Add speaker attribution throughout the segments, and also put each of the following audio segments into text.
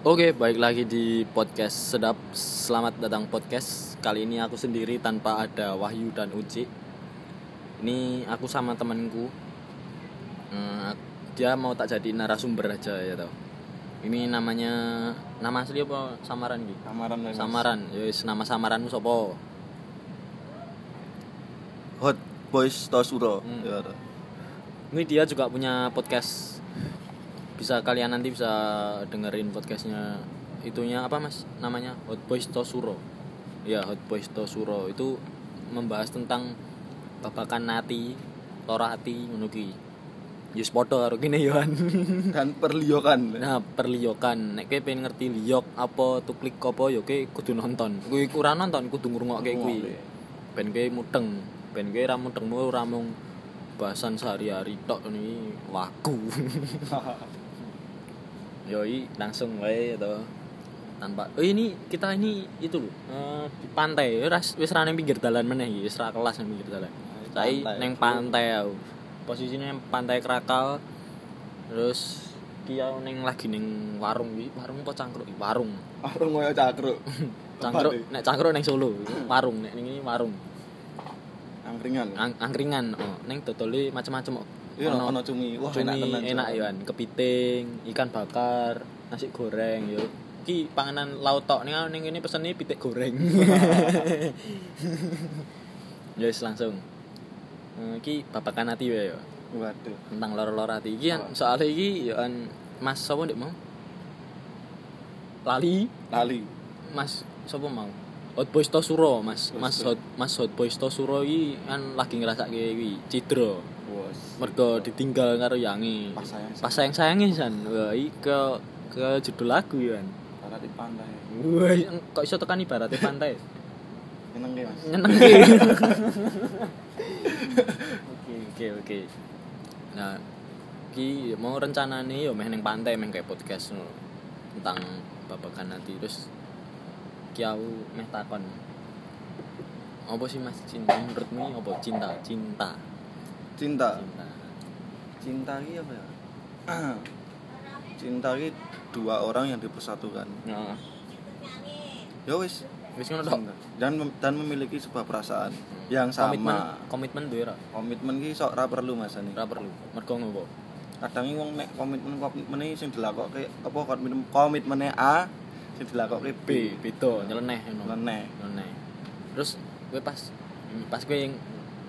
Speaker 1: Oke, baik lagi di podcast Sedap. Selamat datang podcast. Kali ini aku sendiri tanpa ada Wahyu dan Uci. Ini aku sama temanku. Hmm, dia mau tak jadi narasumber aja ya tau. Ini namanya nama asli apa samaran gitu?
Speaker 2: Samaran lah, Mas.
Speaker 1: Samaran. Yowis, nama samaranmu sopo?
Speaker 3: Hot Boys Tosuro.
Speaker 1: Hmm.
Speaker 3: Ya,
Speaker 1: Ini dia juga punya podcast. Bisa kalian nanti bisa dengerin podcastnya itunya apa mas? Namanya Hot Boys Tosuro. Ya Hot Boys Tosuro itu membahas tentang babakan nati, torati, menuki. Yus podo karo kene yoan.
Speaker 3: kan perliokan.
Speaker 1: nah, perliyokan. Nek kowe pengen ngerti liyok apa tuklik apa ya kowe kudu nonton. Kowe iku ora nonton kudu ngrungokke kuwi. Ben kowe mudeng. Ben kowe ora mudengmu ora mung bahasan sehari-hari tok ini lagu. Yoi langsung wae to. Tanpa oh ini kita ini itu loh. eh, di pantai ras wis ra nang pinggir dalan meneh iki, wis ra kelas nang pinggir dalan.
Speaker 3: Ah,
Speaker 1: Saya
Speaker 2: pantai.
Speaker 1: neng pantai aku. Posisinya neng pantai Krakal. Terus kia neng lagi neng warung iki, warung apa cangkruk iki? warung.
Speaker 3: Arung koyo cakruk.
Speaker 1: Cangkruk nek cangkruk neng Solo, warung nek ning ini warung.
Speaker 3: eh. Angkringan.
Speaker 1: Ang angkringan oh, neng dodole macam-macam kok.
Speaker 3: Iya
Speaker 1: Ono-
Speaker 3: ono cumi. Wah,
Speaker 1: Cumi
Speaker 3: enak tenan.
Speaker 1: enak iya. yoan, kepiting, ikan bakar, nasi goreng yo. Ki panganan laut tok ning ning ini pesen iki pitik goreng. Ya wis langsung. Eh, Ki babakan ati wae yo.
Speaker 3: Waduh.
Speaker 1: Tentang loro-loro ati iki kan soalnya iki yo an Mas sapa ndek mau? Lali,
Speaker 3: Lali.
Speaker 1: Mas sapa mau? Hot Boys Tosuro, Mas. Mas Hot Mas Hot Boys Tosuro iki kan lagi ngrasake iki cidra.
Speaker 3: Bos.
Speaker 1: mergo ditinggal karo Yangi.
Speaker 3: Pas sayang.
Speaker 1: Pas sayang sayangi san. Wah, iki ke ke judul lagu ya. An.
Speaker 3: Para di pantai.
Speaker 1: Wah, eng- kok iso tekan ibaratnya pantai.
Speaker 3: Seneng ge, Mas.
Speaker 1: Nyeneng. Oke, oke, oke. Nah, ki mau rencanane yo meh ning pantai meh kayak podcast ngono. Tentang babakan nanti terus ki aku meh takon. Apa sih Mas cinta menurutmu apa cinta? Cinta.
Speaker 3: Cinta.
Speaker 1: Cinta.
Speaker 3: Cinta iki apa ya? Cinta iki dua orang yang dipersatukan.
Speaker 1: Nah,
Speaker 3: Ya wis.
Speaker 1: wis ngono tok.
Speaker 3: Cinta. Dan mem- dan memiliki sebuah perasaan yang
Speaker 1: Hmm. komitmen
Speaker 3: sama.
Speaker 1: komitmen duwe ra
Speaker 3: Komitmen ki sok ra perlu Mas ani.
Speaker 1: ra perlu mergo ngopo
Speaker 3: kadang iki wong nek komitmen komitmene sing dilakokke apa komitmen komitmene A sing dilakokke B
Speaker 1: B beda nyeleneh ngono
Speaker 3: leneh
Speaker 1: nyeleneh terus kowe pas pas kowe yang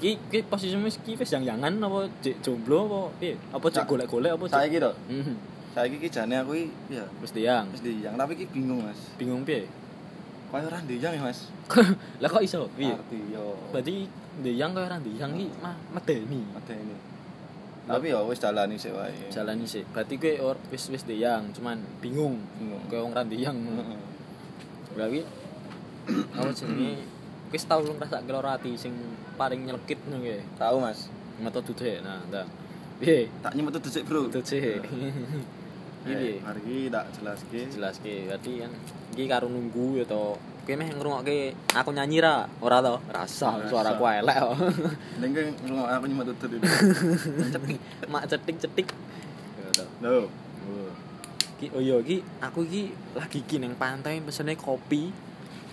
Speaker 1: ki ki posisimu wis ki wis yang yangan apa cek jomblo apa piye apa cek
Speaker 3: Sa-
Speaker 1: golek-golek apa cek
Speaker 3: saiki to
Speaker 1: Mhm,
Speaker 3: saiki ki jane aku iki ya
Speaker 1: wis yang
Speaker 3: wis diyang tapi ki bingung Mas
Speaker 1: bingung piye
Speaker 3: koyo ora diyang ya Mas
Speaker 1: lah kok iso piye
Speaker 3: arti yo
Speaker 1: berarti ndeyang kaya ora ndeyang ki mah medeni
Speaker 3: ini tapi ya wis dalani sik wae
Speaker 1: jalani sih berarti kowe or- wis wis ndeyang cuman bingung
Speaker 3: Bingung.
Speaker 1: kowe wong ra ndeyang ngono
Speaker 3: Heeh.
Speaker 1: Gawi apa jenenge wis tau lu ngrasake lara ati sing paling nyelekit ngono kuwi.
Speaker 3: tahu Mas
Speaker 1: Metu dude. Nah, ndak. Piye?
Speaker 3: tak nyemetu dhisik bro
Speaker 1: Dude. Iki piye?
Speaker 3: Eh, mari ki tak jelaske
Speaker 1: Jelaske berarti kan iki karo nunggu ya to. Kowe meh ngrungokke aku nyanyi ra? Ora to? Rasa
Speaker 3: Rasa.
Speaker 1: suaraku elek kok.
Speaker 3: ning ki ngrungok aku nyemetu dhisik
Speaker 1: Cetik, mak cetik-cetik. Ya to.
Speaker 3: lho
Speaker 1: Ki oh iya ki aku iki lagi ki nang pantai pesene kopi.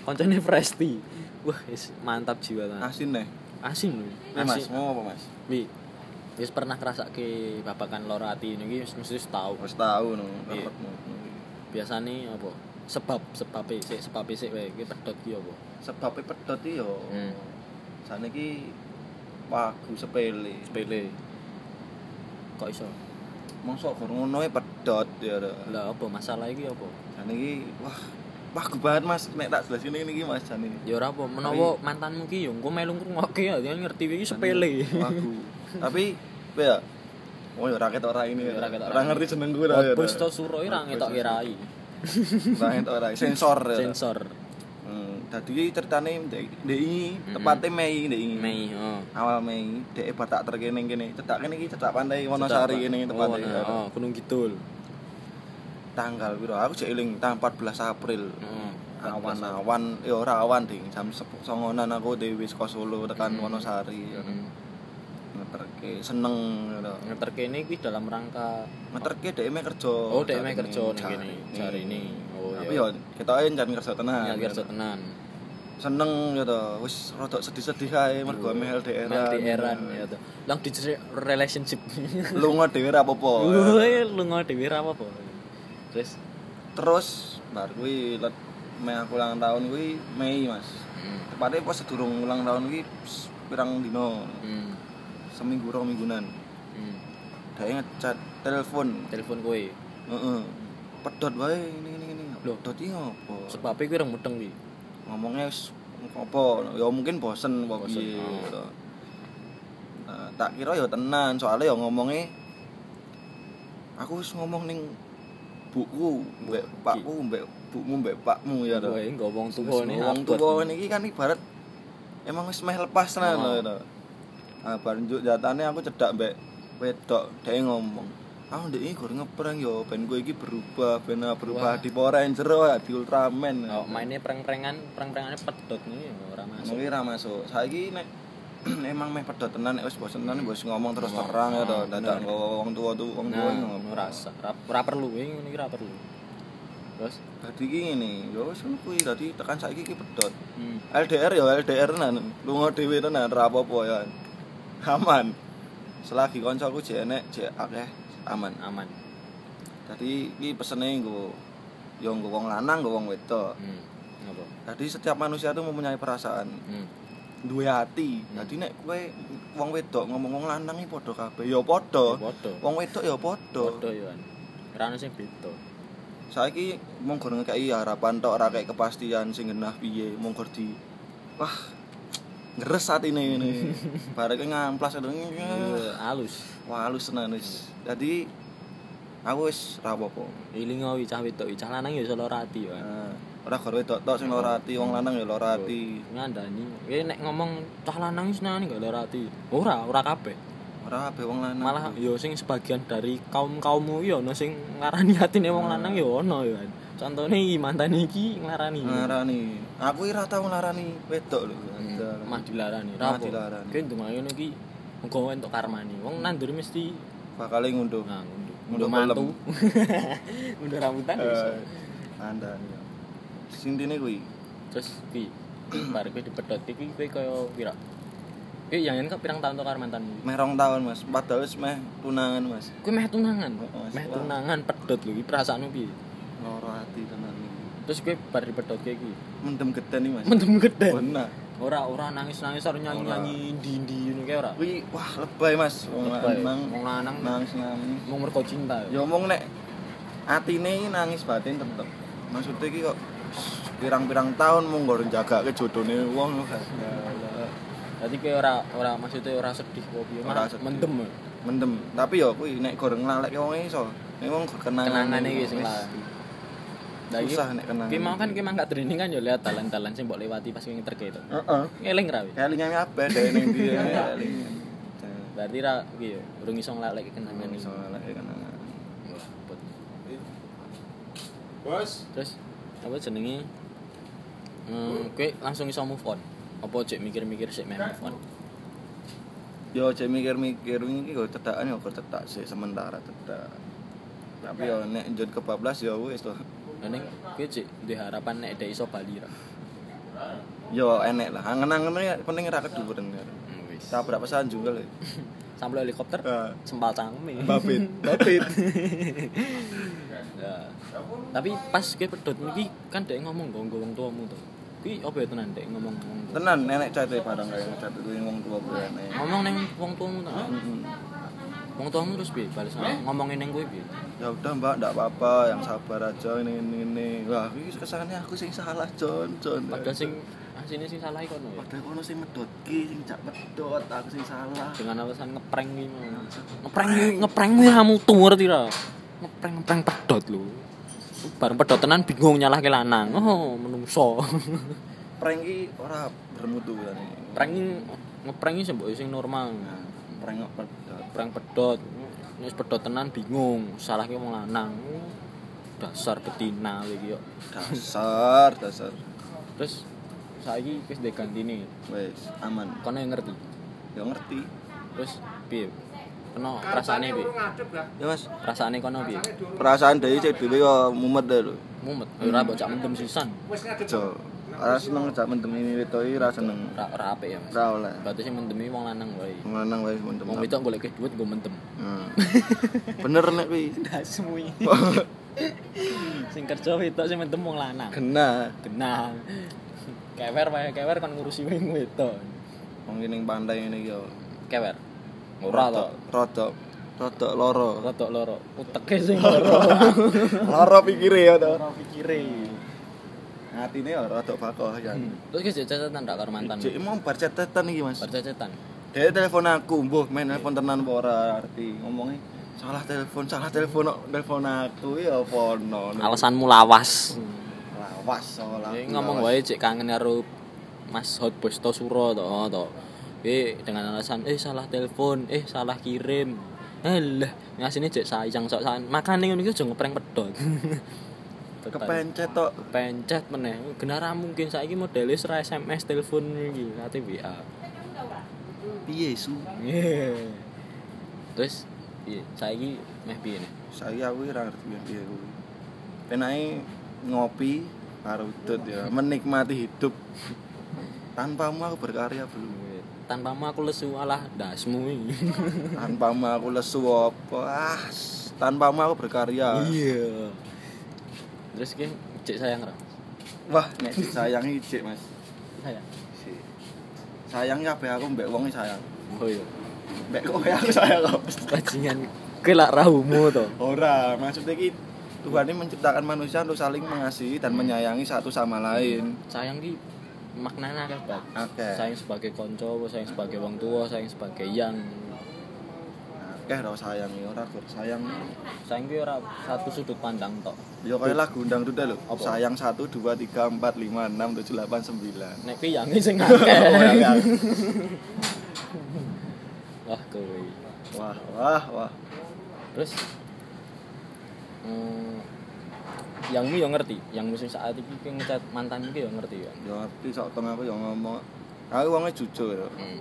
Speaker 1: Koncone fresh tea. Wah, is mantap jiwa tenan.
Speaker 3: asin neh
Speaker 1: Asin lho.
Speaker 3: Eh, Mas mau apa Mas
Speaker 1: Wi, wis pernah kerasa ke babakan loro ati ini wis mesti wis tau
Speaker 3: wis tahu no
Speaker 1: Iya.
Speaker 3: repotmu.
Speaker 1: biasane apa sebab sebab sik sebab sik wae iki pedot ki apa
Speaker 3: sebabnya pedot iki yo
Speaker 1: Hmm.
Speaker 3: sana ki pagu sepele
Speaker 1: sepele kok iso
Speaker 3: mosok gur ngono ae pedot ya ora
Speaker 1: lah apa masalah iki apa
Speaker 3: sana ki wah pagu banget mas nek tak jelas ini iki mas sana ini
Speaker 1: ya ora apa menawa mantanmu ki yo engko melu ngrungokke ya dia ngerti iki sepele
Speaker 3: pagu tapi apa ya oh ya rakyat orang ini
Speaker 1: Iya, Ora ketok
Speaker 3: orang
Speaker 1: rai.
Speaker 3: ngerti jeneng ya, gue
Speaker 1: Hot Boys to Suro iki ra ngetok kirai
Speaker 3: rakyat orang sensor ya ora.
Speaker 1: sensor
Speaker 3: Hmm, tadi ceritanya di ini tepatnya Mei di ini
Speaker 1: Hmm. Mei oh
Speaker 3: awal Mei di batak terkene kene cetak kene ki cetak pantai Wonosari kene
Speaker 1: oh,
Speaker 3: tepatnya ya,
Speaker 1: nah, oh Gunung Kidul
Speaker 3: tanggal piro aku cek eling tanggal 14 April
Speaker 1: heeh
Speaker 3: awan-awan ya ora awan
Speaker 1: Hmm. Ya,
Speaker 3: ding jam 10 songonan aku di Wisko Solo tekan Wonosari
Speaker 1: heeh
Speaker 3: ngeter
Speaker 1: Oke.
Speaker 3: seneng ngono.
Speaker 1: Ngeterke ini kuwi dalam rangka
Speaker 3: Ngeterke dhek mek kerja.
Speaker 1: Oh, dhek mek
Speaker 3: Jari
Speaker 1: kerja ning
Speaker 3: ini, jari
Speaker 1: kene,
Speaker 3: ini.
Speaker 1: jari ini. Oh,
Speaker 3: Tapi
Speaker 1: iya.
Speaker 3: yo ketoke njan kerja tenan. ya,
Speaker 1: niat kerja tenan.
Speaker 3: Seneng yo to. Wis rada sedih-sedih ae mergo ame LDR.
Speaker 1: LDR-an ya to. Lang di relationship.
Speaker 3: Lunga dhewe ra apa-apa.
Speaker 1: Woi, lu ngode dhewe ra apa-apa. Terus
Speaker 3: Terus bar kuwi let Mei aku ulang tahun kuwi Mei, Mas.
Speaker 1: hmm,
Speaker 3: Tepatnya pas sedurung ulang tahun kuwi s- pirang dino,
Speaker 1: hmm,
Speaker 3: seminggu rong minggunan.
Speaker 1: hmm.
Speaker 3: Dhek ngecat telepon.
Speaker 1: telepon kowe.
Speaker 3: Heeh. Pedot wae ini ini ini.
Speaker 1: Loh.
Speaker 3: Pedot iki ngopo?
Speaker 1: Sepape kuwi reng mudeng kuwi.
Speaker 3: ngomongnya wis apa ya mungkin bosen apa
Speaker 1: Bosen,
Speaker 3: piye
Speaker 1: oh.
Speaker 3: gitu. Nah, tak kira ya tenan soalnya ya ngomongnya aku wis ngomong ning buku mbek pakku mbek bukmu mbek pakmu ya to
Speaker 1: Kowe ngomong tuwa
Speaker 3: Wis
Speaker 1: ne
Speaker 3: ngomong tuwa niki kan ibarat emang wis meh lepas tenan
Speaker 1: Oh.
Speaker 3: lho gitu. Nah, bar njuk jatane aku cedak mbek wedok dhek ngomong Aku ndek iki gor ngepreng yo ben kowe iki berubah, ben ah, berubah di Power Ranger, di Ultraman.
Speaker 1: Oh, mainnya perang-perangan, perang-perangannya pedot nih, ora masuk.
Speaker 3: Mungkin ra masuk. Saiki nek emang meh pedot tenan nek wis bosen tenan wis ngomong terus terang ya to. Dadak nggawa wong tuwa tuh wong tuwa
Speaker 1: Nah,
Speaker 3: ngomong.
Speaker 1: ora rasa, ra, ra perlu kuwi ngene iki ra perlu. Terus
Speaker 3: Dadi iki ngene, ya wis ngono kuwi dadi tekan saiki iki pedot.
Speaker 1: hmm.
Speaker 3: LDR ya LDR tenan. Lunga dhewe tenan ra apa-apa ya. Aman. Selagi koncoku jek enek jek akeh aman.
Speaker 1: aman.
Speaker 3: Dadi iki pesene nggo ya nggo wong lanang nggo wong wedok.
Speaker 1: Hmm. Ngapa?
Speaker 3: Dadi setiap manusia itu mempunyai perasaan.
Speaker 1: Hmm.
Speaker 3: duwe ati. Dadi nek kowe wong wedok ngomong wong lanang iki padha kabeh ya padha.
Speaker 1: Padha.
Speaker 3: Wong wedok ya padha.
Speaker 1: Padha yo kan. Ora ono sing beda.
Speaker 3: Saiki mung gor ngekeki harapan tok ora kek kepastian sing genah piye, mung gor di wah ngeres atine ngene. Bareke ngamplas ngono.
Speaker 1: Iya, Alus.
Speaker 3: Wah, halus tenan wis. Dadi aku wis ra apa-apa.
Speaker 1: Ilingo wi cah wedok, cah lanang yo iso lara ati yo. kan.
Speaker 3: Nah, Ora gor wedok tok sing lara ati, wong lanang ya lara ati.
Speaker 1: Ngandani. Kowe nek ngomong cah lanang wis nang gak lara ati. Ora, ora kabeh.
Speaker 3: Ora kabeh wong lanang.
Speaker 1: Malah yo sing sebagian dari kaum-kaummu yo ono sing ngarani atine wong lanang yo ono yo kan. Contone iki mantan iki nglarani.
Speaker 3: ngarani. Aku ora tau nglarani wedok lho.
Speaker 1: mah dilarani
Speaker 3: Mah
Speaker 1: rapo
Speaker 3: dilarani.
Speaker 1: kuwi ndungane ngono iki muga entuk karmani wong nandur mesti
Speaker 3: bakal ngunduh
Speaker 1: nah ngunduh
Speaker 3: Ngunduh
Speaker 1: ngunduh mantu ngunduh rambutan
Speaker 3: Eh,
Speaker 1: ya iso.
Speaker 3: anda ya sintine kuwi
Speaker 1: terus kuwi bar kuwi dipedhot iki kuwi kaya pira kuwi yang kan pirang tahun to karo mantanmu
Speaker 3: meh rong tahun Mas padahal wis meh tunangan Mas
Speaker 1: kuwi meh tunangan
Speaker 3: Heeh,
Speaker 1: meh
Speaker 3: wah.
Speaker 1: tunangan pedhot lho iki perasaanmu piye
Speaker 3: loro ati tenan iki
Speaker 1: terus kuwi bar dipedhot iki
Speaker 3: mendem geden iki Mas
Speaker 1: mendem gede
Speaker 3: benar
Speaker 1: ora ora nangis nangis ora nyanyi nyanyi ndi-ndi ngono kae ora
Speaker 3: kuwi wah lebay Mas wong
Speaker 1: Lebay.
Speaker 3: lanang
Speaker 1: Wong lanang
Speaker 3: nangis nangis
Speaker 1: mau mergo cinta
Speaker 3: ya omong nek atine iki nangis batin tetep maksudnya iki kok pirang-pirang tahun mung nggo jaga jodohne wong ya Allah.
Speaker 1: Jadi kayak ora ora maksudnya ora sedih kok piye ora
Speaker 3: Ora sedih.
Speaker 1: mendem. ya.
Speaker 3: mendem tapi ya kuwi nek goreng nglalek wong iso nek wong kenangan
Speaker 1: Kenangane iki sing lah. Lah iki
Speaker 3: Susah nek kenangan.
Speaker 1: kuwi mau kan kuwi mangkat training kan yo lihat dalan-dalan sing mbok lewati pas kuwi ngeterke itu.
Speaker 3: Heeh.
Speaker 1: Ngeling ra weh.
Speaker 3: Kelingan apa deh ning ndi ya.
Speaker 1: Berarti ra kuwi yo urung iso nglalek kenangan
Speaker 3: Kelingan
Speaker 1: iso.
Speaker 3: iso nglalek kenangan.
Speaker 2: Bos,
Speaker 1: Terus apa jenenge? Hmm, kuwi langsung iso move on. Apa cek mikir-mikir sik meh move on.
Speaker 3: Yo cek mikir-mikir iki kok cetakan yo kok cetak sih sementara cetak. Tapi yo nek njut kebablas yo wis to.
Speaker 1: Lah ning kuwi cek duwe harapan nek dhek iso bali ra.
Speaker 3: Yo enek lah. Angen-angen penting ra keduren.
Speaker 1: Wis.
Speaker 3: Tak berapa pesan e. juga lho.
Speaker 1: Sampel helikopter
Speaker 3: Eh.
Speaker 1: sempal e. cangkeme.
Speaker 3: Babit, babit.
Speaker 1: Ya. Tapi pas kowe pedhot iki kan dek ngomong nggo nggo wong tuamu to. Kuwi apa ya tenan dek ngomong wong tua.
Speaker 3: Tenan enek cete bareng kaya cat kuwi wong tua kuwi enek.
Speaker 1: Ngomong ning wong tuamu to.
Speaker 3: Mm.
Speaker 1: Wong tuamu terus piye balas ngomongin ning kowe piye?
Speaker 3: Ya udah Mbak, ndak apa-apa, yang sabar aja ini ini ini. Wah, iki kesannya aku sing salah, Jon, Jon.
Speaker 1: Padahal sing asine sing salah iki kono ya.
Speaker 3: Padahal kono sing medot ki, sing cak medot, aku sing salah.
Speaker 1: Dengan alasan ngeprank iki mau. Ngeprank iki ngeprank kuwi kamu tuh ngerti ra? Ngeprank ngeprank pedhot lho. Bareng pedhot tenan bingung nyalahke lanang. Oh, menungso.
Speaker 3: Prank ki ora bermutu kan.
Speaker 1: Prank iki ngeprank iki sing mbok- sing normal.
Speaker 3: Nah, prank kok pedot.
Speaker 1: perang pedot wis pedot tenan bingung salahke wong lanang dasar betina kowe iki yo
Speaker 3: Dasar, dasar.
Speaker 1: terus saiki wis ndek gantine
Speaker 3: Wes, aman.
Speaker 1: kono yang ngerti
Speaker 3: Ya ngerti.
Speaker 1: terus piye? Kena rasane piye?
Speaker 2: ngadep lah.
Speaker 3: ya mas
Speaker 1: Rasane kono piye?
Speaker 2: Rasane durung.
Speaker 3: perasaan dari cek dhewe yo mumet deh lho
Speaker 1: Mumet. Ora mbok cak mendem sisan.
Speaker 2: Wis ngadep.
Speaker 3: jo ora seneng ngejak mendem wiwit to iki ora seneng
Speaker 1: Ora ora apik ya, Mas.
Speaker 3: ora oleh
Speaker 1: Batasnya mendemi wong lanang wae.
Speaker 3: menang wae mendem
Speaker 1: Wong wedok golek duit gue mendem.
Speaker 3: Hmm. bener nek kuwi
Speaker 1: Ndak semuanya. Sing kerja wedok sing mendem wong lanang.
Speaker 3: kena
Speaker 1: Genah. Kewer wae, kewer kon ngurusi wong wedok.
Speaker 3: wong iki ning pantai ngene iki yo
Speaker 1: Kewer. Ora to.
Speaker 3: rodok rodok loro
Speaker 1: Rada loro, uteke sing loro.
Speaker 3: loro pikire ya to
Speaker 1: Ora pikire. Hmm.
Speaker 3: atine yo rodok bakoh ya
Speaker 1: Terus guys, cecetan ndak karo mantan.
Speaker 3: Cek mau bar cetetan iki Mas.
Speaker 1: Bercecetan.
Speaker 3: Dia telepon aku, mbuh main telepon tenan apa ora arti ngomongnya salah telepon, salah telepon kok telepon aku ya apa no.
Speaker 1: Alasanmu lawas.
Speaker 3: lawas salah.
Speaker 1: Ya, ngomong wae cek kangen karo Mas Hot Boys Tosuro to to. Eh dengan alasan eh salah telepon, eh salah kirim. Alah, ngasine cek sayang sok-sokan. Makane ngono iki aja ngeprank pedot.
Speaker 3: kepencet tok.
Speaker 1: pencet meneh. Genara mungkin saiki modele ra SMS telepon iki, ate WA.
Speaker 3: Piye su?
Speaker 1: Terus iya, saiki meh piye nih?
Speaker 3: Saya aku ora ngerti piye piye kuwi. Penake ngopi karo udut ya, menikmati hidup. Tanpamu aku berkarya belum.
Speaker 1: Tanpamu aku lesu alah dasmu iki.
Speaker 3: Tanpamu aku lesu apa? Ah, s- tanpamu aku berkarya.
Speaker 1: Iya. Terus ki cek sayang ra?
Speaker 3: Wah, nek sayang ijik, Mas.
Speaker 1: Sayang.
Speaker 3: Si. Sayang ya aku mbek wong sayang.
Speaker 1: Oh iya.
Speaker 3: Mbek kowe aku sayang kok.
Speaker 1: bajingan kowe lak rahumu to.
Speaker 3: Ora, maksudnya ki Tuhan ini menciptakan manusia untuk saling mengasihi dan menyayangi satu sama lain.
Speaker 1: Sayang ki maknanya akeh banget.
Speaker 3: Akeh.
Speaker 1: Sayang sebagai konco, sayang sebagai wong tua, sayang sebagai yang.
Speaker 3: Akeh ora sayang ya ora kur sayang.
Speaker 1: Sayang ki ora satu sudut pandang tok.
Speaker 3: Ya kaya lagu undang duda lho.
Speaker 1: Apa?
Speaker 3: Sayang 1 2 3 4 5 6 7 8 9.
Speaker 1: Nek ki yange sing akeh. Wah kowe.
Speaker 3: wah, wah, wah.
Speaker 1: Terus hmm, yangmu yo ngerti, yang musim saat iki ki ngecat mantanmu ki yo ngerti ya.
Speaker 3: Ya ngerti sok teng aku ya ngomong. Aku wongnya jujur.
Speaker 1: Hmm.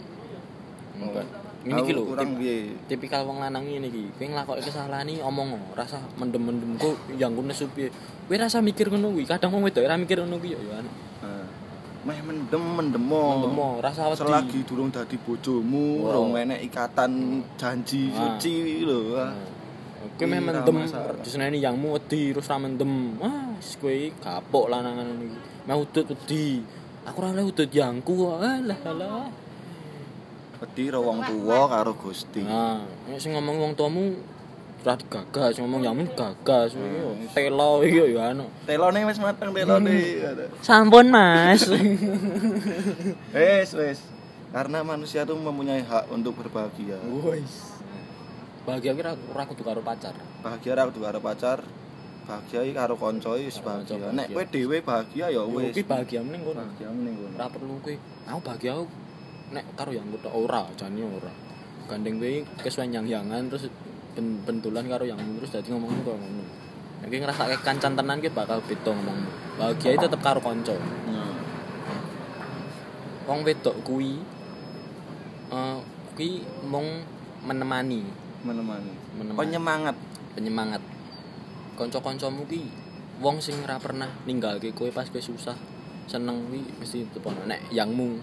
Speaker 3: Oh.
Speaker 1: Enggak. Ini ki lho,
Speaker 3: Aku kurang
Speaker 1: tip-
Speaker 3: piye.
Speaker 1: tipikal wong lanang ngene iki kowe nglakoki kesalahan iki omong ngono, rasa mendem-mendem ku yang ku nesu piye kowe rasa mikir ngono kuwi kadang wong wedok ora mikir ngono kuwi ya yo aneh.
Speaker 3: Nah, Meh mendem mendemo.
Speaker 1: mendemo rasa wedi
Speaker 3: Selagi durung dadi bojomu,
Speaker 1: Wow.
Speaker 3: urung enek ikatan
Speaker 1: Ah.
Speaker 3: janji suci lho.
Speaker 1: Nah,
Speaker 3: ah.
Speaker 1: Oh, kowe meh
Speaker 3: Iya,
Speaker 1: mendem
Speaker 3: masalah.
Speaker 1: diseneni yangmu wedi terus ra mendem ah wis kowe iki kapok lanangan iki meh udut wedi aku ora oleh udut yangku Ah, alah alah
Speaker 3: Wedi ro wong tuwa karo Gusti.
Speaker 1: nah nek sing ngomong wong tuamu ora digagas sing ngomong yangmu gagas iki yo
Speaker 3: Hmm.
Speaker 1: telo iki yo anu
Speaker 3: Telone wis mateng telone.
Speaker 1: Hmm. sampun mas
Speaker 3: Wis wis. Karena manusia tuh mempunyai hak untuk berbahagia.
Speaker 1: Wis. Bahagia kira ora kudu karo pacar.
Speaker 3: Bahagia ra kudu karo pacar, bahagia iki karo kanca wis
Speaker 1: Karo kanca
Speaker 3: bahagia.
Speaker 1: bahagia.
Speaker 3: Nek kowe dhewe bahagia ya
Speaker 1: Yo
Speaker 3: wis.
Speaker 1: kuwi bahagia meneng kono.
Speaker 3: Bahagia ning kono.
Speaker 1: Ora perlu kuwi. Aku bahagia aku nek karo yang kudu ora, jane ora. Gandeng kuwi kesuwen yang-yangan terus ben bentulan karo yang terus dadi ngomongmu koyo ngono. Nek ki ngrasake kancan tenan ki bakal beda ngomongmu. Bahagia itu tetep karo kanca.
Speaker 3: Nah,
Speaker 1: Wong wedok kuwi eh kuwi mung menemani,
Speaker 3: menemani.
Speaker 1: menemani.
Speaker 3: Penyemangat.
Speaker 1: penyemangat konco-koncomu ki wong sing ora pernah ninggalke kowe pas kowe susah seneng ki mesti tepono nek yangmu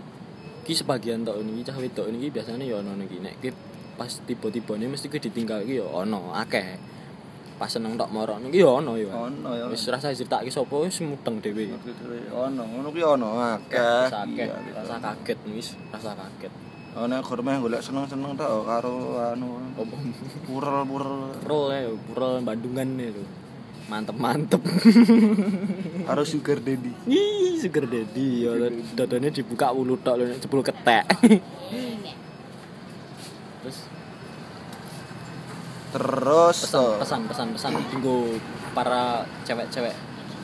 Speaker 1: ki sebagian tok niki cah wedok niki biasanya ya ono niki nek ki pas tiba-tibane mesti ki ditinggalke ya ono akeh pas seneng tok moro niki ya ono ya
Speaker 3: Ono ya.
Speaker 1: wis rasa diceritake sapa wis mudeng dhewe
Speaker 3: Ono, ngono kuwi ono akeh.
Speaker 1: rasa akeh
Speaker 3: Iya, gitu.
Speaker 1: rasa kaget wis rasa kaget
Speaker 3: Ana kurma golek seneng-seneng tok oh, karo anu purel-purel
Speaker 1: pro ya pro Bandungan ya tuh mantep-mantep
Speaker 3: karo sugar daddy.
Speaker 1: Ih, sugar daddy ya dadane dibuka wulu tok lho nek jebul ketek. Terus
Speaker 3: Terus oh, toh,
Speaker 1: pesan-pesan pesan dinggo Oh. para cewek-cewek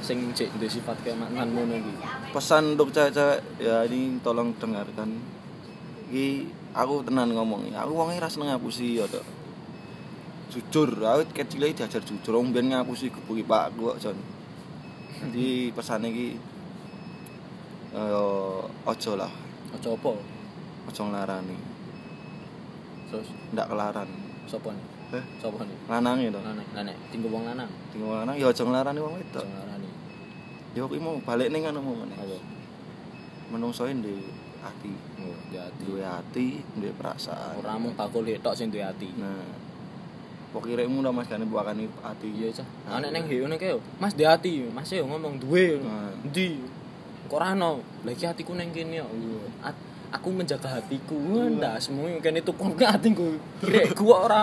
Speaker 1: sing cek duwe sifat kaya mantan ngono iki.
Speaker 3: pesan untuk cewek-cewek ya ini tolong dengarkan. Iki aku tenan ngomong, aku wong ra seneng ngapusi ya toh. Jujur, aku kecil ae diajar jujur, wong biyen ngapusi gebuki Pak aku kok Jon. Jadi pesan iki eh ojo lah,
Speaker 1: Aja apa?
Speaker 3: ojo nglarani.
Speaker 1: terus
Speaker 3: ndak kelaran
Speaker 1: sopo nih
Speaker 3: Hah?
Speaker 1: sopo nih
Speaker 3: lanang itu
Speaker 1: lanang lanang tinggu wong lanang
Speaker 3: tinggal lanang ya aja nglarani wong wedok
Speaker 1: Jangan ngarani.
Speaker 3: ya aku mau balik ning ngono mau meneh
Speaker 1: apa
Speaker 3: menungsoe ndek ati
Speaker 1: oh duwe ati
Speaker 3: duwe ati duwe perasaan
Speaker 1: ora mung bakul tok sing duwe ati
Speaker 3: nah kok kiremu ndak mas gane buakane ati
Speaker 1: iya cah anek neng heo neng keo mas duwe ati mas yo ngomong duwe
Speaker 3: Nah.
Speaker 1: endi kok ora ono lagi hatiku neng kene yo At- aku menjaga hatiku ndak semuanya kene tukang ke hatiku kirek gua ora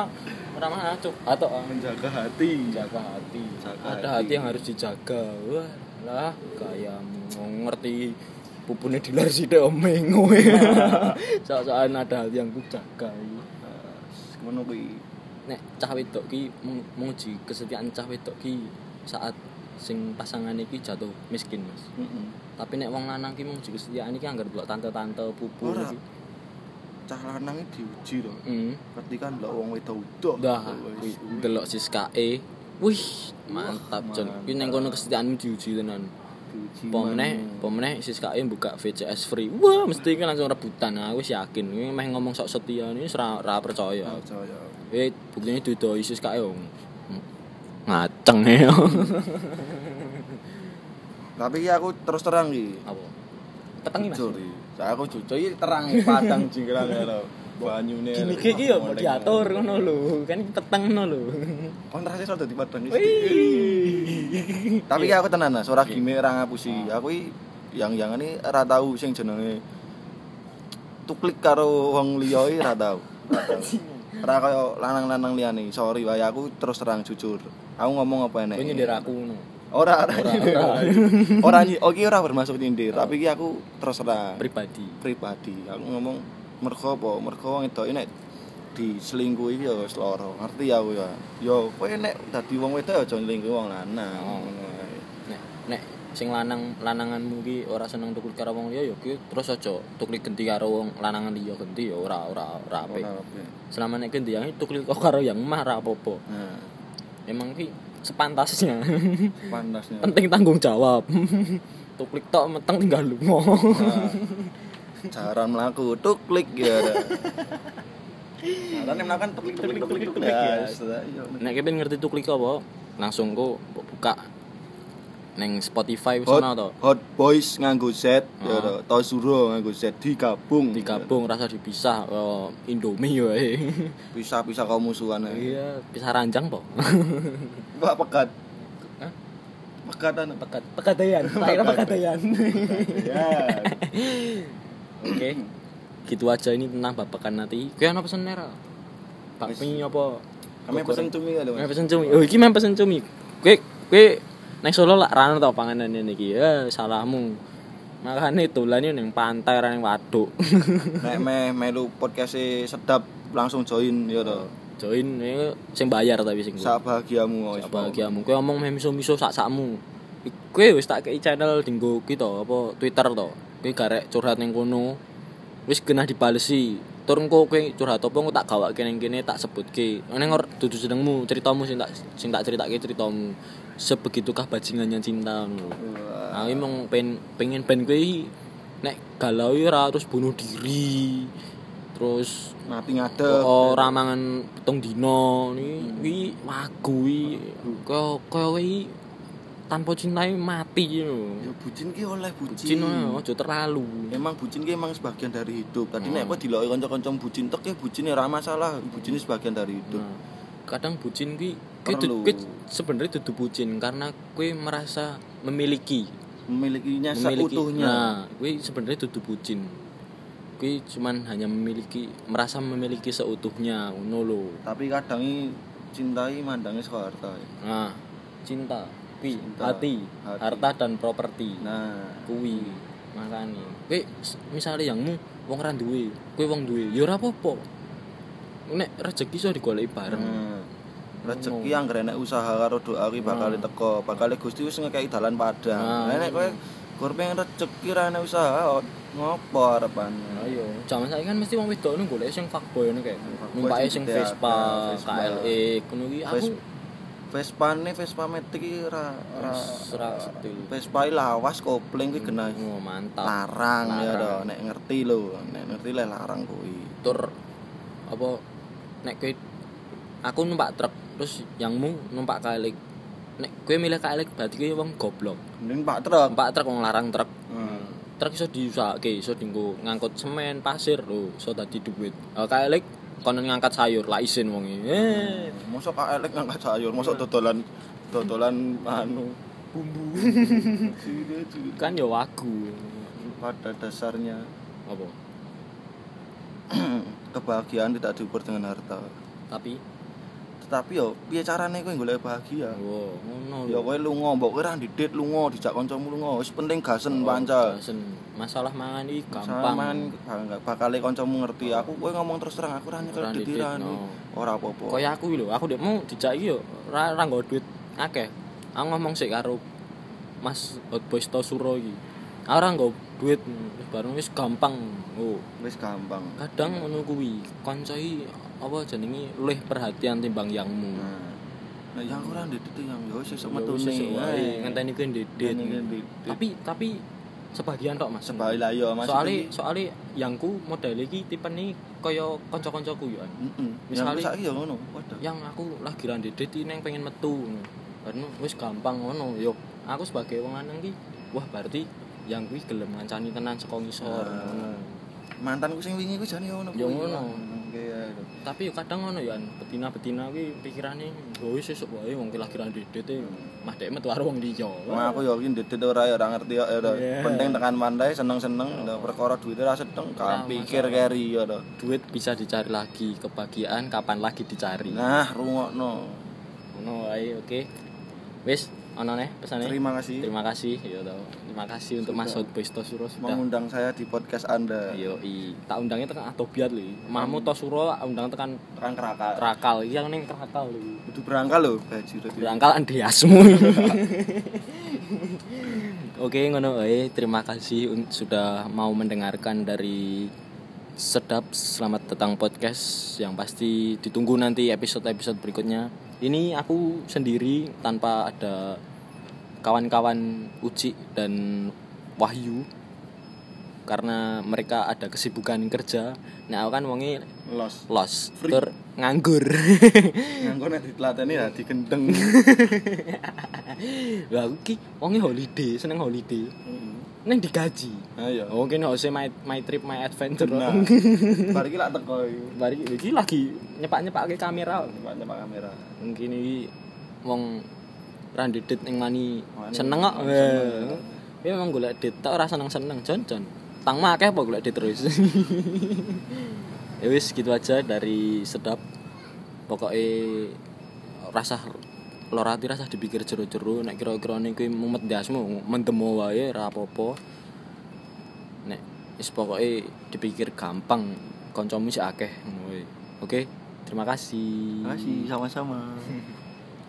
Speaker 1: ora masuk atau
Speaker 3: ah, menjaga hati
Speaker 1: jaga hati
Speaker 3: Jaga
Speaker 1: ada
Speaker 3: hati.
Speaker 1: hati yang harus dijaga wah lah kayak ngerti pupunnya dilar sih deh omeng soal ada hati yang kujaga iya.
Speaker 3: ngono kuwi
Speaker 1: nek cah wedok ki meng- menguji kesetiaan cah wedok ki saat sing pasangan iki jatuh miskin mas
Speaker 3: heeh
Speaker 1: tapi nek wong lanang ki menguji kesetiaan iki anggar delok tante-tante pupu
Speaker 3: Ora.
Speaker 1: iki
Speaker 3: cah lanang iki diuji to
Speaker 1: hmm.
Speaker 3: ketika ndak wong wedok utuh
Speaker 1: dah kuwi delok siskae wih mantap
Speaker 3: Wah,
Speaker 1: Jon ki neng kono kesetiaanmu diuji tenan
Speaker 3: diuji
Speaker 1: Pemeneh, pemeneh siskae buka VCS free. Wah, mesti kan langsung rebutan. Aku wis yakin ini meh ngomong sok setia ini ora ora percaya.
Speaker 3: ya percaya
Speaker 1: Eh, buktinya didoi siskae wong. Hmm. Ngaceng ya.
Speaker 3: tapi iki aku terus terang iki
Speaker 1: Apa? Petengi Mas.
Speaker 3: jujur iki. saya iya. aku jujur iki terang iki padang jingkrang ya lho banyune
Speaker 1: Gini ki iki ya mau diatur ngono lho. Kan iki peteng ngono lho.
Speaker 3: kontrasnya sudah di padang iki
Speaker 1: Wih.
Speaker 3: tapi aku tenan lah suara gimmick ora ngapusi aku i- yang yang ini ora tahu sing jenenge tuklik karo wong liya i ora tahu Ora tahu. ora kaya lanang-lanang liyane sorry wae aku terus terang jujur aku ngomong apa enek
Speaker 1: Kowe nyindir aku ngono.
Speaker 3: ora ora
Speaker 1: Ora,
Speaker 3: nyindir.
Speaker 1: ora.
Speaker 3: ora nyi- oke ora bermaksud nyindir tapi iki aku terus terang
Speaker 1: Pribadi.
Speaker 3: pribadi aku ngomong mergo apa mergo wong edoke nek diselingkuhi ya wis lara ngerti aku ya ya kowe nek dadi wong wedok ya aja nyelingkuhi wong lanang
Speaker 1: Oh.
Speaker 3: ngono ae.
Speaker 1: Nek nek sing lanang lananganmu ki ora seneng tukul karo wong liya ya ki terus aja tukul genti karo wong lanangan liya genti ya ora ora ora apik.
Speaker 3: Ora apa.
Speaker 1: Selama nek genti yang tukul kok karo yang mah ra apa-apa.
Speaker 3: Nah,
Speaker 1: Emang ki sepantasnya.
Speaker 3: panasnya.
Speaker 1: Penting tanggung jawab. tukul tok meteng tinggal lunga.
Speaker 3: Nah, Jarang melaku, tuk klik ya. Karena melakukan kan tuk klik tuk klik tuk klik tuk klik ya. sudah, iya.
Speaker 1: Nek kepen ngerti tuklik apa, langsung ku bu- buka neng Spotify wis
Speaker 3: Hot,
Speaker 1: ana to.
Speaker 3: hot boys nganggo Z, ya to. Tozuro nganggo Z digabung.
Speaker 1: Digabung rasa dipisah oh, Indomie wae.
Speaker 3: Ya, Pisah-pisah kau musuhan ae.
Speaker 1: Iya, pisah ranjang po.
Speaker 3: Wah, pekat.
Speaker 1: Hah?
Speaker 3: Pekatan.
Speaker 1: Pekat pekatayan, terakhir pekatayan.
Speaker 3: Ya.
Speaker 1: Oke. Gitu aja ini tentang babakan nanti. Kuwi ana pesen nera. Bakmi apa?
Speaker 3: Kami pesen cumi ada,
Speaker 1: Meh
Speaker 3: Mas.
Speaker 1: pesen cumi. Oh, iki meh pesen cumi. Kuwi kuwi nang Solo lak ra ana tau panganan ini iki. Eh, salahmu. Makane dolane ning pantai ora ning waduk.
Speaker 3: Nek meh melu podcast e sedap langsung join ya to.
Speaker 1: join ini sing bayar tapi sing
Speaker 3: Sak bahagiamu wis.
Speaker 1: sak bahagiamu kowe omong meh miso-miso sak sakmu kowe wis tak kei channel dinggo ki to apa Twitter to kowe garek curhat ning kono wis kena dibalesi tur engko kowe curhat apa engko tak gawake ning kene tak sebutke ning or dudu jenengmu ceritamu sing tak sing tak critake ceritamu sebegitukah bajingannya cinta ngono
Speaker 3: Wah.
Speaker 1: Aku emang pengen pengen ben kowe nek galau ya ora terus bunuh diri. Terus
Speaker 3: mati ngadeg
Speaker 1: ora mangan pitung dina niki kuwi wagu kuwi kaya kaya kuwi tanpa cintai mati
Speaker 3: ya
Speaker 1: ngono.
Speaker 3: bucin ki oleh bucin,
Speaker 1: Bucin oh,
Speaker 3: Hmm.
Speaker 1: ngono, aja terlalu.
Speaker 3: emang bucin ki emang sebagian dari hidup tadi
Speaker 1: Oh.
Speaker 3: nek kowe diloki kanca-kanca bucin tek ya bucin ya ora masalah bucin
Speaker 1: Hmm.
Speaker 3: ini sebagian dari hidup
Speaker 1: Nah, kadang bucin kuwi
Speaker 3: Perlu.
Speaker 1: kuwi sebenarnya dudu bucin karena kuwi merasa memiliki
Speaker 3: memilikinya seutuhnya
Speaker 1: nah kuwi sebenarnya dudu bucin kuwi cuman hanya memiliki merasa memiliki seutuhnya ngono lho
Speaker 3: tapi kadang i cintai mandangnya saka harta ya.
Speaker 1: nah cinta kuwi
Speaker 3: Cinta,
Speaker 1: hati,
Speaker 3: hati.
Speaker 1: harta dan properti
Speaker 3: nah
Speaker 1: kuwi makane kuwi s- misale yangmu wong ra duwe kuwi wong duwe ya ora apa-apa nek rezeki iso digoleki bareng
Speaker 3: nah, Hmm. rezeki yang enek usaha karo doa ki bakal teko bakal Gusti wis ngekeki dalan padang
Speaker 1: Nah.
Speaker 3: nah, nek kowe kurang rezeki ra enek usaha ngopo harapannya
Speaker 1: ayo jaman saiki kan mesti wong wedok nu golek sing fuckboy ngono kae
Speaker 3: fuckboy
Speaker 1: numpake
Speaker 3: sing
Speaker 1: sing
Speaker 3: gede
Speaker 1: Vespa
Speaker 3: akeh, Vespa.
Speaker 1: KLE ngono kuwi aku
Speaker 3: Vespa. Vespa ne Vespa metik ki ra ra
Speaker 1: serak setil
Speaker 3: Vespa i lawas kopling kuwi genah
Speaker 1: oh
Speaker 3: Ah.
Speaker 1: mantap
Speaker 3: Hmm, larang ya
Speaker 1: Larang.
Speaker 3: toh nek ngerti lho nek ngerti lah larang kuwi
Speaker 1: tur apa nek kowe aku numpak truk terus yangmu numpak kalik nek kowe milih kalik berarti kowe wong goblok
Speaker 3: mending pak truk
Speaker 1: numpak truk wong larang truk
Speaker 3: hmm.
Speaker 1: truk iso diusahake iso dinggo ngangkut semen pasir lho iso dadi duit Eh, kalik konon ngangkat sayur lah isin wong iki Eh,
Speaker 3: mosok kak elek ngangkat sayur mosok dodolan dodolan anu bumbu Sudah, sudah.
Speaker 1: kan ya wagu
Speaker 3: pada dasarnya
Speaker 1: apa
Speaker 3: kebahagiaan tidak diukur dengan harta
Speaker 1: tapi
Speaker 3: tetapi yo piye carane kowe golek bahagia
Speaker 1: wow ngono
Speaker 3: ya kowe lunga mbok kowe ra ndidit lunga dijak kancamu lunga wis penting gasen panca
Speaker 1: Bosen. masalah mangan iki Oh,
Speaker 3: Saman
Speaker 1: gampang
Speaker 3: enggak bakal kancamu ngerti aku kowe ngomong terus terang aku ra
Speaker 1: Ora
Speaker 3: nyekel
Speaker 1: ndidit,
Speaker 3: ditirani
Speaker 1: no.
Speaker 3: ora apa-apa
Speaker 1: kaya aku iki lho aku dekmu dijak iki yo ra ra nggo duit akeh aku ngomong sik karo Mas Hot Boys Tosuro iki aku ra nggo duit Wis bareng wis gampang oh
Speaker 3: wis gampang
Speaker 1: kadang ngono kuwi kanca iki apa jenenge luwih perhatian timbang yangmu
Speaker 3: Nah, nah, yang aku ra ndidit yang yo sesuk
Speaker 1: Ya
Speaker 3: metu
Speaker 1: wis sesuk wae,
Speaker 3: ngenteni
Speaker 1: ngenteni kuwi ndedit
Speaker 3: tapi
Speaker 1: tapi tapi sebagian tok Mas
Speaker 3: sebalik lah yo Mas
Speaker 1: soalnya soalnya yangku model iki tipe nih kaya kanca-kancaku yo
Speaker 3: heeh
Speaker 1: Misalnya-
Speaker 3: saiki yo ngono waduh
Speaker 1: yang aku lagi randedit ini yang pengen metu karena wis gampang ngono yo aku sebagai wong lanang ki wah berarti yang kuwi gelem ngancani tenan saka ngisor ngono.
Speaker 3: mantanku sing wingi kuwi jane ngono
Speaker 1: Ya
Speaker 3: kuwi.
Speaker 1: ngono.
Speaker 3: Kayak gitu.
Speaker 1: tapi yo kadang ngono yo betina-betina kuwi pikirane "Oh, wis sesuk wae wong ki lagi randedit e mah dek metu karo wong liya
Speaker 3: Wah, aku yakin didit ora ya ora ngerti ya ya, ora.
Speaker 1: Iya.
Speaker 3: Penting tekan mandai seneng-seneng ora perkara duit ora sedeng
Speaker 1: Ora
Speaker 3: kan pikir keri ya ora.
Speaker 1: duit bisa dicari lagi kebahagiaan kapan lagi dicari
Speaker 3: Nah, rungokno.
Speaker 1: ngono wae oke wis ana neh pesane
Speaker 3: Terima kasih
Speaker 1: Terima kasih ya tau. Terima kasih untuk Mas Hot Boys Tosuro sudah
Speaker 3: mengundang saya di podcast Anda.
Speaker 1: Yo i, tak undangnya tekan Atobiat lho. Mahmu Tosuro tak undang tekan
Speaker 3: Terang kerakal.
Speaker 1: Krakal. Iki yang ning Krakal lho.
Speaker 3: Kudu berangkal lho, gaji
Speaker 1: Berangkal andiasmu. Oke, ngono wae. Terima kasih un- sudah mau mendengarkan dari Sedap Selamat Datang Podcast yang pasti ditunggu nanti episode-episode berikutnya. Ini aku sendiri tanpa ada kawan-kawan Uci dan Wahyu karena mereka ada kesibukan kerja. Nah, aku kan wonge
Speaker 3: Los.
Speaker 1: los, tur nganggur.
Speaker 3: Nganggo nek ditelateni ya digendeng.
Speaker 1: Lah aku ki wonge holiday, seneng holiday. Neng digaji.
Speaker 3: Ayo.
Speaker 1: Oh, kene hose my my trip my adventure.
Speaker 3: Nah. Bar iki lak teko iki.
Speaker 1: Bari iki lagi nyepak-nyepake kamera.
Speaker 3: Nyepak-nyepak kamera.
Speaker 1: Mungkin iki wong randedit ning mani
Speaker 3: Mani,
Speaker 1: seneng kok.
Speaker 3: mani
Speaker 1: Weh.
Speaker 3: seneng, ya.
Speaker 1: Kuwi emang golek dit tok ora seneng-seneng, Jon Jon. Tang akeh apa golek dit terus. ya wis gitu aja dari sedap. Pokoke rasa lor hati rasa dipikir jero-jero nek kira-kira ning kuwi mumet ndasmu mendemo wae ora apa-apa. Nek wis pokoke dipikir gampang kancamu sik akeh ngono wae. Oke, terima kasih.
Speaker 3: Terima kasih sama-sama.